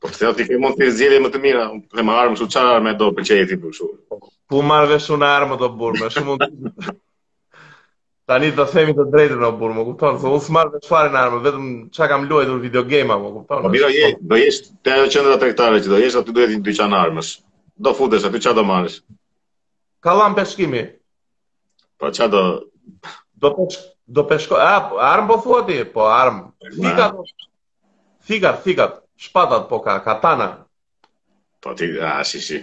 Speaker 1: Po pse aty ke mund të zgjedhje më të mira, unë me armë kështu çfarë armë do pëlqejë ti për kështu.
Speaker 2: Ku marr vesh unë armë do burr, më shumë unë- [LAUGHS] Tani të themi të drejtën o burr, më kupton, se unë s'marr vesh fare në armë, vetëm çka kam luajtur video game, më kupton.
Speaker 1: Po mira je, do jesh te ajo qendra tregtare që do jesh, aty duhet një dyqan armësh. Do futesh aty çfarë do marrësh?
Speaker 2: Kallam peshkimi.
Speaker 1: Po çfarë do
Speaker 2: Do pesh do peshko, a po, armë po thua ti, po armë. Fikat. Fikat, fikat, shpatat po ka, katana. [LAUGHS]
Speaker 1: po ti a shi shi.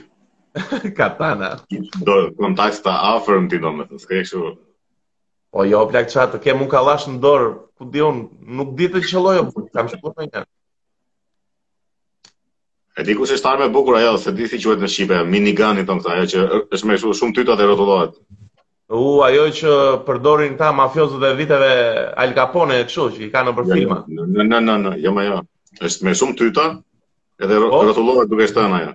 Speaker 2: katana.
Speaker 1: Do kontakt ta afërm ti domethënë, s'ke kështu.
Speaker 2: Po jo, plak çfarë, të kem un kallash në dorë, ku di un, nuk di të qelloj, po, kam shkuar në një.
Speaker 1: E di kush është armë e bukur ajo, se di si quhet në shqipe, minigani thon këta, ajo që është me kështu shumë tyta dhe rrotullohet.
Speaker 2: U, ajo që përdorin ta mafiozët e viteve Al Capone e kështu që i kanë nëpër filma.
Speaker 1: Në në në në, jo më jo. Është me shumë tyta edhe ro-
Speaker 2: Po?
Speaker 1: rrotullohet duke shtënë ajo.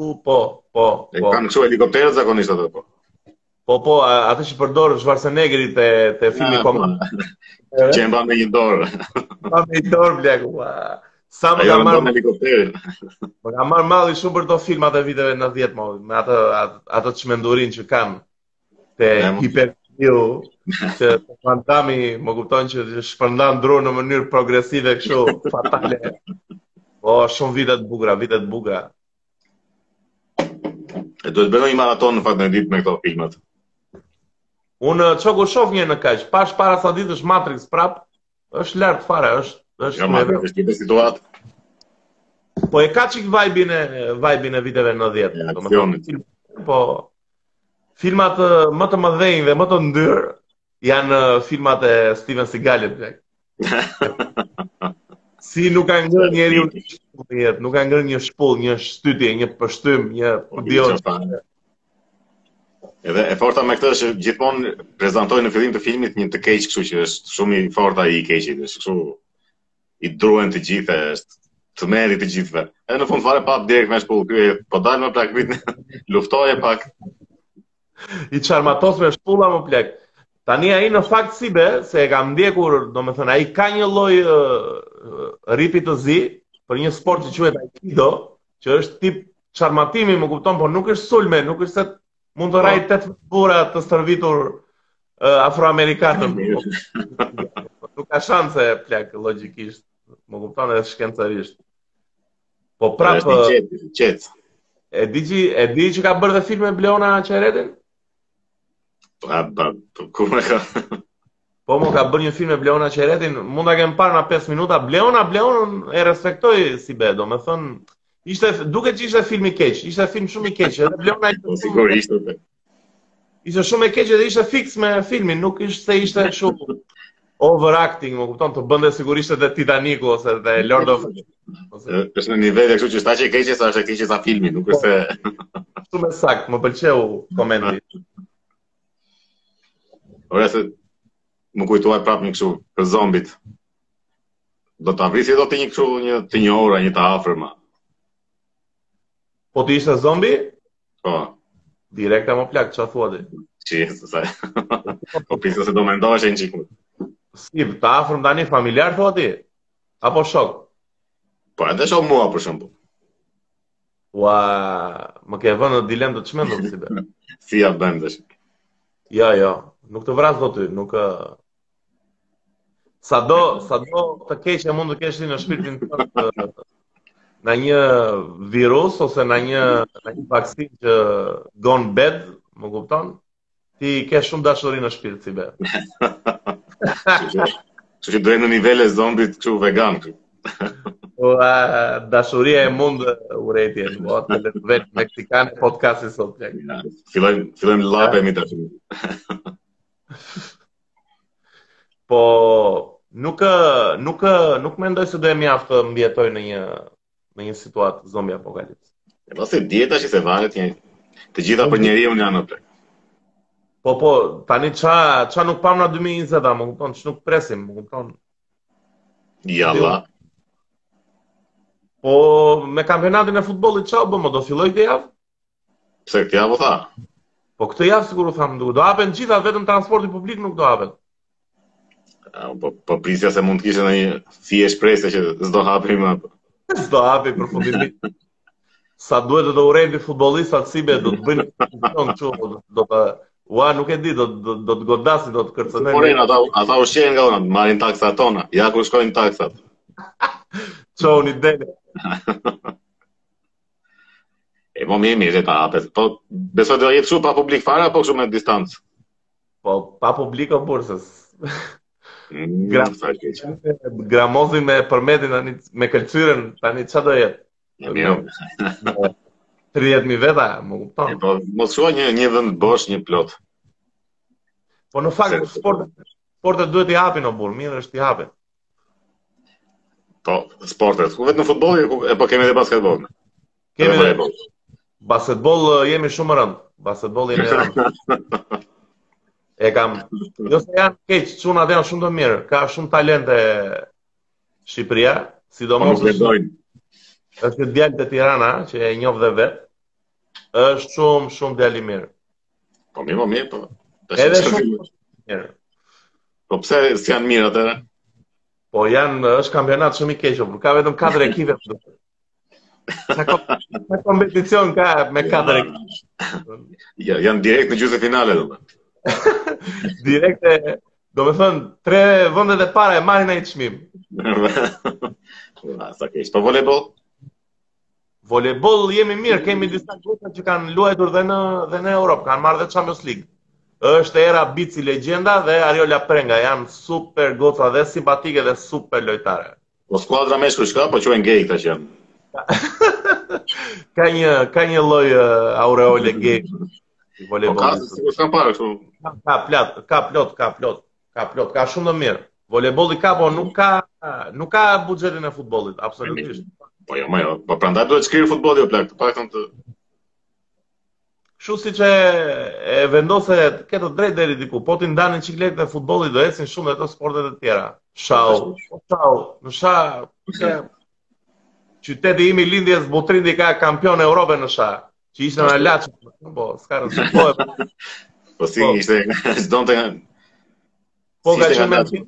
Speaker 2: U, po, po,
Speaker 1: E
Speaker 2: po.
Speaker 1: kanë kështu helikopterët zakonisht atë po.
Speaker 2: Po, po, a- atë që përdor Schwarzeneggeri te te filmi
Speaker 1: Ah, po.
Speaker 2: Komando.
Speaker 1: Që e mban me një dorë.
Speaker 2: Pa me i dorë, plak. ua. Sa më
Speaker 1: Ajo
Speaker 2: ka
Speaker 1: rëndon
Speaker 2: marrë,
Speaker 1: helikopterin.
Speaker 2: më Po ka marrë malli shumë për to filmat e viteve 90 më, me atë atë, atë çmendurin që kanë te
Speaker 1: E, mo.
Speaker 2: hiperfiu që Van Damme më kupton që shpërndan drurë në mënyrë progresive kështu fatale. Po shumë vite të bukura, vite të bukura.
Speaker 1: E duhet bënoj një maraton në fakt në ditë me këto filmat.
Speaker 2: Unë çoku shoh një në kaq, pash para sa ditësh Matrix prap, është lart fare, është
Speaker 1: Ja
Speaker 2: është
Speaker 1: ma,
Speaker 2: me vetë.
Speaker 1: është një situatë.
Speaker 2: Po e ka çik vibe-in e vibe-in e viteve 90,
Speaker 1: E,
Speaker 2: domethënë
Speaker 1: aksionit.
Speaker 2: film- po filmat eh, më të mëdhenj dhe më të ndyr janë eh, filmat e Steven Seagalit plak. si nuk ka ngërë njeriu në shpull në jetë, nuk ka ngërë një shpull, një shtytje, një pështym, një
Speaker 1: Po,
Speaker 2: dion.
Speaker 1: Edhe e forta me këtë është që gjithmonë prezantojnë në fillim të filmit një të keq, kështu që është shumë i fortë ai i keqit, është kështu i druhen të gjithë, është të meri të gjithëve. Edhe në fund fare pap direkt me shpull ky, e, po dal me plak vitën, [LAUGHS] luftoje pak.
Speaker 2: i çarmatos me shpulla më plak. Tani ai në fakt si be, se e kam ndjekur, domethënë ai ka një lloj uh, ripi të zi për një sport që quhet aikido, që është tip çarmatimi, më kupton, por nuk është sulme, nuk është se mund të rrai 18 burra të stërvitur uh, afroamerikanën. nuk ka shanse plak logjikisht, më kupton edhe shkencarisht. Po
Speaker 1: Prapë është
Speaker 2: prapë,
Speaker 1: i qetë, i qetë.
Speaker 2: e di që e di që ka bërë dhe filme Bleona Çeretin?
Speaker 1: Pa, pa, pa, po, ku më ka?
Speaker 2: Po më ka bërë një film me Bleona Qeretin, mund ta kem parë na 5 minuta. Bleona, Bleonën e respektoj si be, domethën ishte duket që ishte film i keq, ishte film shumë i keq, edhe
Speaker 1: Po
Speaker 2: Bleona ishte shumë,
Speaker 1: sigurisht. po.
Speaker 2: ishte shumë e keq edhe ishte fiks me filmin, nuk ishte se ishte kështu overacting, më kupton, të bënte sigurisht edhe Titaniku ose edhe Lord of ose
Speaker 1: Ë, Është në nivele kështu që sa që e keqe sa është e keqe sa filmi, nuk është se
Speaker 2: shumë e saktë, më pëlqeu komendi.
Speaker 1: Ora se më kujtuar prapë një kështu për zombit. Do ta vrisi do të një kështu një të një ora, një të afërma.
Speaker 2: Po ti ishte zombi?
Speaker 1: Po,
Speaker 2: Direkt e më plak, çfarë thua ti?
Speaker 1: që se sa. [LAUGHS] po pisa se do mendohesh një çik. më.
Speaker 2: Si, të afërm tani familjar thua ti? Apo shok?
Speaker 1: Po edhe shoh mua për shembull.
Speaker 2: Ua, më ke vënë në dilemë të çmendur si be.
Speaker 1: Si ja bëm tash.
Speaker 2: Jo, jo, nuk të vras do ty, nuk ë sado sado të keqe mund të kesh ti në shpirtin tënd ë, në një virus ose në një në një vaksin që gone bad, më kupton? Ti ke shumë dashuri në shpirt si be.
Speaker 1: Kështu që- Kështu që drejt në nivele zombit kështu vegan. kështu.
Speaker 2: Ua, Po, dashuria e mundë uretje, po atë le të vetë meksikane podcasti sot plak.
Speaker 1: Ja, Fillojmë fillojmë lapemi tash.
Speaker 2: Po nuk ë, nuk ë, nuk mendoj se do e mjaft të mbjetoj në një në një situatë zombi apokalips.
Speaker 1: E Pas po, se dieta që se varet një të gjitha për njeriu janë atë.
Speaker 2: Po po, tani ça ça nuk pam në 2020, a, më kupton, ç'nuk presim, më kupton.
Speaker 1: Jalla.
Speaker 2: Po me kampionatin e futbollit çau bë, më do filloj këtë javë?
Speaker 1: Pse këtë javë u tha?
Speaker 2: Po këtë javë sigur u tham, do do hapen gjitha, vetëm transporti publik nuk do [LAUGHS] hapet.
Speaker 1: Ja, Po, po prisja se mund të kishte ndonjë fije shpresë që s'do hapim po. apo.
Speaker 2: S'do hapi për fundimin. Sa duhet do të urejnë futbollistat si be do të bëjnë funksion kështu do- do të ua nuk e di do do, do të godasin do të
Speaker 1: Por
Speaker 2: kërcënojnë.
Speaker 1: ata ata ushqehen nga ona, marrin taksat tona. Ja ku shkojnë taksat.
Speaker 2: Çoni dele.
Speaker 1: E po mirë mirë e ta hapet. Po besoj do jetë kështu pa publik fare apo kështu me distancë.
Speaker 2: Po pa publiko bursës.
Speaker 1: Mm,
Speaker 2: Gra-
Speaker 1: sa e keq.
Speaker 2: Gramozi me përmetin tani me këlqyren tani çfarë do jetë?
Speaker 1: E mirë.
Speaker 2: 30000 veta, më kupton?
Speaker 1: E po mos shkoj një një vend bosh, një plot.
Speaker 2: Po në fakt
Speaker 1: Se-
Speaker 2: sportet sportet duhet i hapin o burr, mirë është i hapin.
Speaker 1: Po sportet, ku vetëm në futbolli, ku- e po kemi edhe basketboll. Kemi
Speaker 2: Kemi
Speaker 1: voleybol.
Speaker 2: Basketbol eh, jemi shumë rënd. Basketbol jemi rënd. E kam. Jo se janë keq, çunat janë shumë të mirë. Ka shumë talente Shqipëria,
Speaker 1: Po
Speaker 2: sidomos
Speaker 1: nuk
Speaker 2: është
Speaker 1: lexojnë.
Speaker 2: është djalë të Tirana që e njoh dhe vet. Është shumë shumë djalë i mirë.
Speaker 1: Po mirë, po mirë, po. Tash
Speaker 2: Edhe
Speaker 1: çfarë
Speaker 2: shumë-
Speaker 1: fillim?
Speaker 2: Mirë.
Speaker 1: Po pse s'janë mirë atëre?
Speaker 2: Po janë është kampionat shumë i keq, por ka vetëm 4 ekipe. Sa kom- sa kompeticion ka me 4 ekipe.
Speaker 1: Ja, janë direkt në gjysmë finale domethënë.
Speaker 2: Direkte, do me thënë, tre vëndet e para e marrin ai çmim.
Speaker 1: Ah, [LAUGHS] Sa keq. Po voleybol?
Speaker 2: Volebol jemi mirë, kemi disa grupe që kanë luajtur dhe në dhe në Europë, kanë marrë dhe Champions League. Është era Bici Legjenda dhe Ariola Prenga, janë super goca dhe simpatike dhe super lojtare.
Speaker 1: Po skuadra me shku shka, po quhen gay këta që janë.
Speaker 2: Ka një ka një lloj uh, aureole gay i
Speaker 1: Po ka,
Speaker 2: volebolit.
Speaker 1: sikur s'kam parë kështu.
Speaker 2: Ka, ka plot, ka plot, ka plot, ka plot, ka shumë të mirë. Volebolli ka, po nuk ka nuk ka buxhetin e futbollit, absolutisht.
Speaker 1: Po jo, më jo. Po prandaj duhet shkrirë futbolli o plak, të paktën të
Speaker 2: Kështu siç e, e vendose ke të drejtë deri diku, po ti ndanin çikletën e futbollit do ecin shumë dhe ato sportet e tjera. Shau, shau, në sha, ke qyteti im i lindjes Butrindi ka kampion e Europës në sha, që ishte në Laç, po s'ka rëndë, po,
Speaker 1: po si
Speaker 2: Po.
Speaker 1: ishte [LAUGHS] çdonte nga
Speaker 2: po
Speaker 1: si
Speaker 2: ka
Speaker 1: ishte
Speaker 2: qenë
Speaker 1: nga
Speaker 2: me
Speaker 1: datë?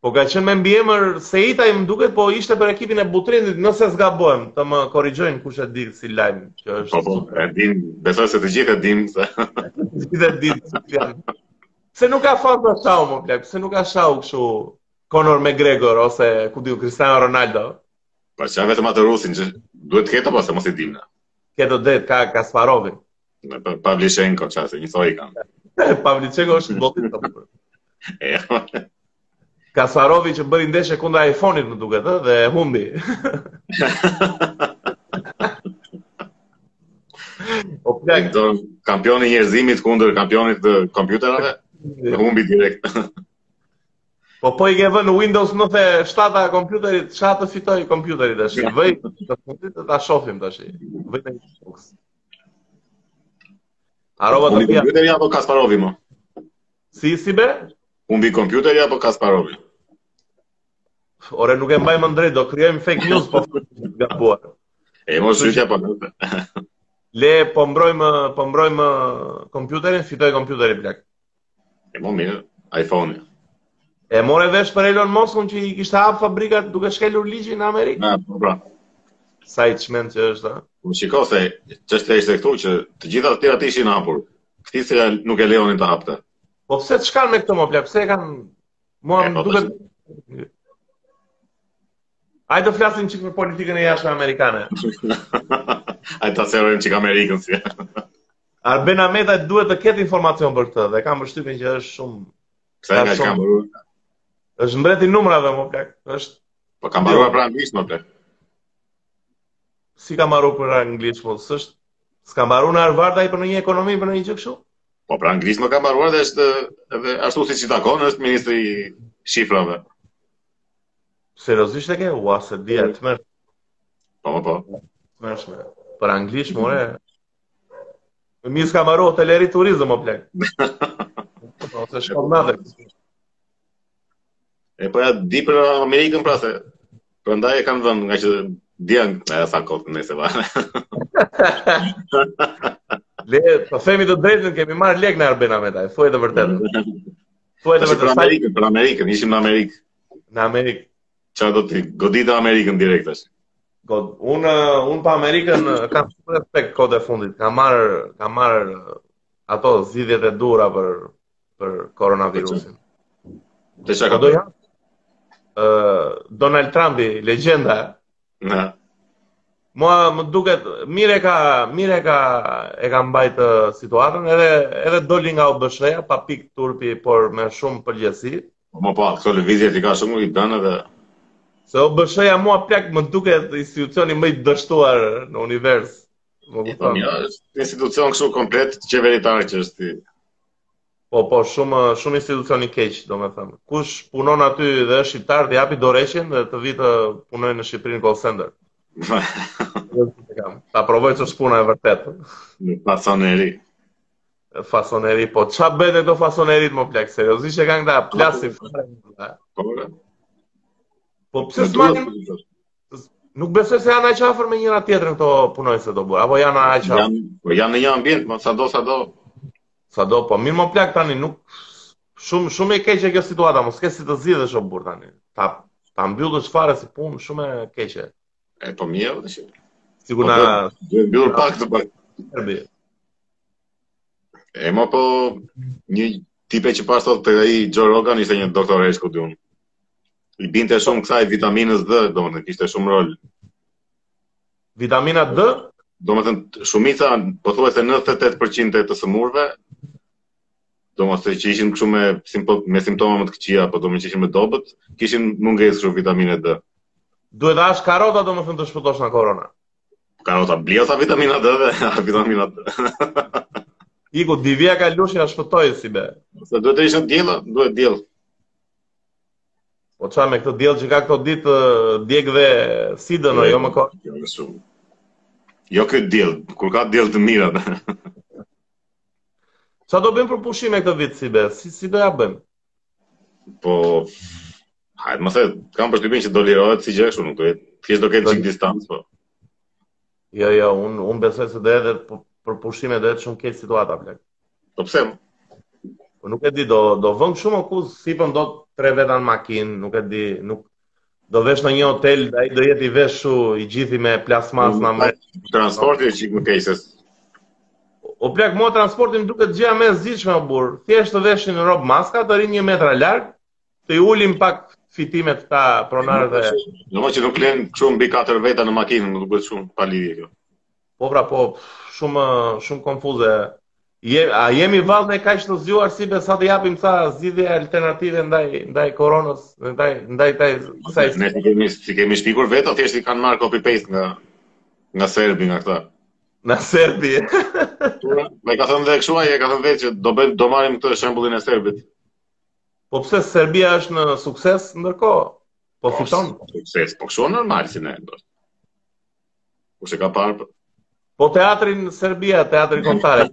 Speaker 2: Po ka qenë me mbiemër Seita i më duket, po ishte për ekipin e Butrindit, nëse zgabohem, të më korrigjojnë kush e di si lajm, që është
Speaker 1: Po po, e dim, besoj se të gjithë e dim se [LAUGHS]
Speaker 2: Gjithë ditë që janë. Se nuk ka fat për shau, më plak, se nuk ka shau kështu Conor McGregor ose ku diu Cristiano Ronaldo.
Speaker 1: po çfarë vetëm atë rusin që duhet të ketë apo se mos i dim na.
Speaker 2: Ke të drejtë ka Kasparovin.
Speaker 1: Me Pa- Pavlishenko çfarë, se njësoj i kanë.
Speaker 2: Pavlichenko është futbollist. apo?
Speaker 1: [LAUGHS] E,
Speaker 2: Kasparovi që bëri ndeshje kundra iPhone-it, më duket, ë, dhe e
Speaker 1: [LAUGHS]
Speaker 2: humbi. o plak,
Speaker 1: do kampioni i njerëzimit kundër kampionit të kompjuterave, e humbi direkt.
Speaker 2: po po i ke vënë Windows 97 a kompjuterit, çfarë të fitoi kompjuteri tash? Vëj të fundit të ta shohim tash. Vëj në Xbox. Harova të
Speaker 1: Humbi
Speaker 2: pia.
Speaker 1: kompjuteri apo Kasparovi më?
Speaker 2: Si si be?
Speaker 1: Humbi kompjuteri apo Kasparovi?
Speaker 2: Ore nuk e mbaj më drejt, do krijojmë fake news po gabuar.
Speaker 1: E mos shqytja po nëse.
Speaker 2: Le po mbrojmë po mbrojmë kompjuterin, fitoi kompjuteri plak.
Speaker 1: E mo mirë, iPhone-i.
Speaker 2: E more vesh për Elon Muskun që i kishte hap fabrikat duke shkelur ligjin në Amerikë.
Speaker 1: Na, po pra.
Speaker 2: Sa i çmend që është, ha?
Speaker 1: Po shiko se çështja ishte këtu që të gjitha të tjerat ishin hapur. Këti se ja- nuk e lejonin të hapte. [LAUGHS]
Speaker 2: Po pse çkan me këtë më plak? Pse e kanë mua
Speaker 1: E,
Speaker 2: më
Speaker 1: po,
Speaker 2: duket Ai do flasim çik për politikën e jashtme amerikane.
Speaker 1: Ai ta serojmë çik Amerikën si.
Speaker 2: Arben Ahmeta duhet të ketë informacion për këtë dhe kam përshtypjen që është shumë
Speaker 1: Pse
Speaker 2: Ka
Speaker 1: nga
Speaker 2: shumë.
Speaker 1: kameru
Speaker 2: Është mbreti i numrave më plak. Është
Speaker 1: Po kam
Speaker 2: Jo.
Speaker 1: mbaruar pra anglisht më plak.
Speaker 2: si ka marrë për anglisht, po s'është s'ka marrë në Harvard ai për një ekonomi, për një gjë kështu.
Speaker 1: Po pra anglisht më kam mbaruar dhe është edhe ashtu siç i takon është ministri i shifrave.
Speaker 2: Seriozisht e ke? Ua, se di atë më
Speaker 1: Po po po.
Speaker 2: mërshme. Për anglisht, more. Mi s'ka marrë hoteleri turizëm, o
Speaker 1: [LAUGHS]
Speaker 2: plek. Ose shkon natër.
Speaker 1: E po ja di për Amerikën pra se prandaj e kanë vënë nga që dian e sa kot nëse va.
Speaker 2: Le, po themi të drejtën, kemi marrë lek në Arbena me taj. Thuaj të vërtetën. Thuaj të
Speaker 1: Tash pra për
Speaker 2: vërtetën. sa-
Speaker 1: Amerikën, për Amerikën, ishim në Amerikë.
Speaker 2: Në Amerikë.
Speaker 1: Çfarë do të godita Amerikën direkt tash.
Speaker 2: God, unë unë pa Amerikën kam shumë respekt kohët e fundit. Kam marr kam marr uh, ato zgjidhjet e dura për për koronavirusin.
Speaker 1: Te çka
Speaker 2: Po
Speaker 1: ka
Speaker 2: do ja? Ë Donald Trumpi, legjenda.
Speaker 1: Na.
Speaker 2: Mua më duket mire ka mire ka e ka mbajt ë, situatën edhe edhe doli nga OBSH-ja pa pikë turpi, por me shumë përgjegjësi.
Speaker 1: Po më po, këto lëvizje ti ka shumë i bën edhe
Speaker 2: Se OBSH-ja mua plak më duket institucioni më i dështuar në univers. Më
Speaker 1: Po
Speaker 2: kupton?
Speaker 1: mirë, është institucion kështu komplet qeveritar që është. i- [LAUGHS]
Speaker 2: Po, po, shumë shumë institucion i keq, domethënë. Kush punon aty dhe është shqiptar, të japi dorëshin dhe të vi të punojë në Shqipëri në call center. E kam. Ta provoj ç'është puna e vërtetë.
Speaker 1: Në pasoneri.
Speaker 2: Fasoneri, po ç'a bëhet me këto fasonerit më plak, seriozisht e kanë këta plasin fare.
Speaker 1: Po.
Speaker 2: Po pse s'manin? Nuk besoj se janë aq afër me njëra tjetrën këto punojëse do bërë, apo janë aq afër.
Speaker 1: Jam, po jam në një ambient, më sado sado.
Speaker 2: Sado, po mirë më plak tani, nuk shumë shumë e keqe kjo situata, mos ke si të zgjidhesh o burr tani. Ta ta mbyllësh fare si punë shumë e keqe.
Speaker 1: E po mirë, tash.
Speaker 2: Sigur
Speaker 1: Po,
Speaker 2: na
Speaker 1: Duhet mbyllur pak të pak.
Speaker 2: serbi.
Speaker 1: E më po një tipe që pas thotë ai Joe Rogan ishte një doktoresh ku diun. I binte shumë kësaj vitaminës D, domethënë kishte shumë rol.
Speaker 2: Vitamina D,
Speaker 1: Domethënë shumica, po pothuajse 98% e të sëmurëve domethënë që ishin kështu me simpo- me simptoma më të këqija, apo domethënë që ishin me dobët, kishin mungesë kështu vitamine D.
Speaker 2: duhet të hash karota domethënë të shpëtosh nga korona.
Speaker 1: Karota bliota vitamina D dhe [LAUGHS] vitamina D.
Speaker 2: Iku divja ka lushi ja shpëtoi si be.
Speaker 1: Se duhet të ishte diella, duhet diell.
Speaker 2: Po çfarë me këtë diell që ka këto ditë ë, djeg dhe sidën o jo më korona.
Speaker 1: Jo, më shumë. Jo ky diell, kur ka diell të mira.
Speaker 2: Çfarë do bëjmë për pushime këtë vit si be? Si si do ja bëjmë?
Speaker 1: [LAUGHS] po hajtë më se kam përshtypjen që do lirohet si gjë kështu, nuk do jetë thjesht do ketë çik distancë, po.
Speaker 2: Jo, jo, un un besoj se do edhe për- për pushime do jetë shumë keq situata plak.
Speaker 1: Po pse?
Speaker 2: Po nuk e di, do do vëm shumë akuz, sipëm do të tre veta në makinë, nuk e di, nuk do vesh në një hotel, ai do jetë i veshu i gjithi me plasmas na me
Speaker 1: Transporti është çik më keq se
Speaker 2: O plak mua transporti më duket gjëja më e zgjidhshme o burr. Thjesht të veshin në rob maska, të rinë 1 metra larg, të i ulim pak fitimet këta pronarëve.
Speaker 1: Do që nuk lën kështu mbi katër veta në makinë, nuk bëhet shumë pa lidhje kjo.
Speaker 2: Po pra po, pff, shumë shumë konfuze. Je, a jemi vallë ne kaq të zgjuar si besa të japim ca zgjidhje alternative ndaj ndaj koronës, ndaj ndaj taj kësaj
Speaker 1: Ne si kemi si kemi shpikur vetë, thjesht i kanë marr copy paste nga nga serbi nga këta.
Speaker 2: na serbi.
Speaker 1: Me ka thënë dhe kështu ai, e ka thënë vetë që do bëjmë do marrim këtë shembullin e serbit.
Speaker 2: Po pse Serbia është në sukses ndërkohë? Po fiton.
Speaker 1: Sukses, po kështu është normal si ne. do. Kush e ka parë? po.
Speaker 2: Po teatrin në Serbia, teatri kombëtar.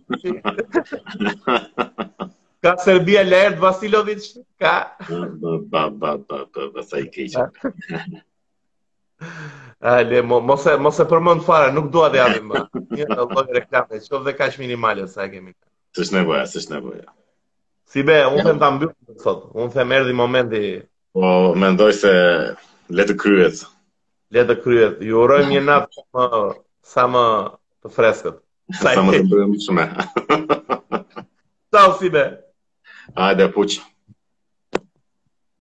Speaker 1: [LAUGHS]
Speaker 2: ka Serbia Laert Vasilovic, ka
Speaker 1: Ba ba ba ba ba ba sa i keq.
Speaker 2: Ale, mo, mos e mos e përmend fare, nuk dua të japim më. Një lloj reklame, qoftë dhe kaq minimale sa e kemi.
Speaker 1: S'është nevoja, s'është nevoja.
Speaker 2: Si be, unë them ta mbyllim sot. Unë them erdhi momenti
Speaker 1: Po mendoj se le të kryhet.
Speaker 2: le të kryhet. Ju urojmë një natë sa më sa më të freskët. Sa
Speaker 1: Sa
Speaker 2: i
Speaker 1: më të
Speaker 2: keq.
Speaker 1: bëjmë shumë.
Speaker 2: Ciao si be.
Speaker 1: Hajde puç.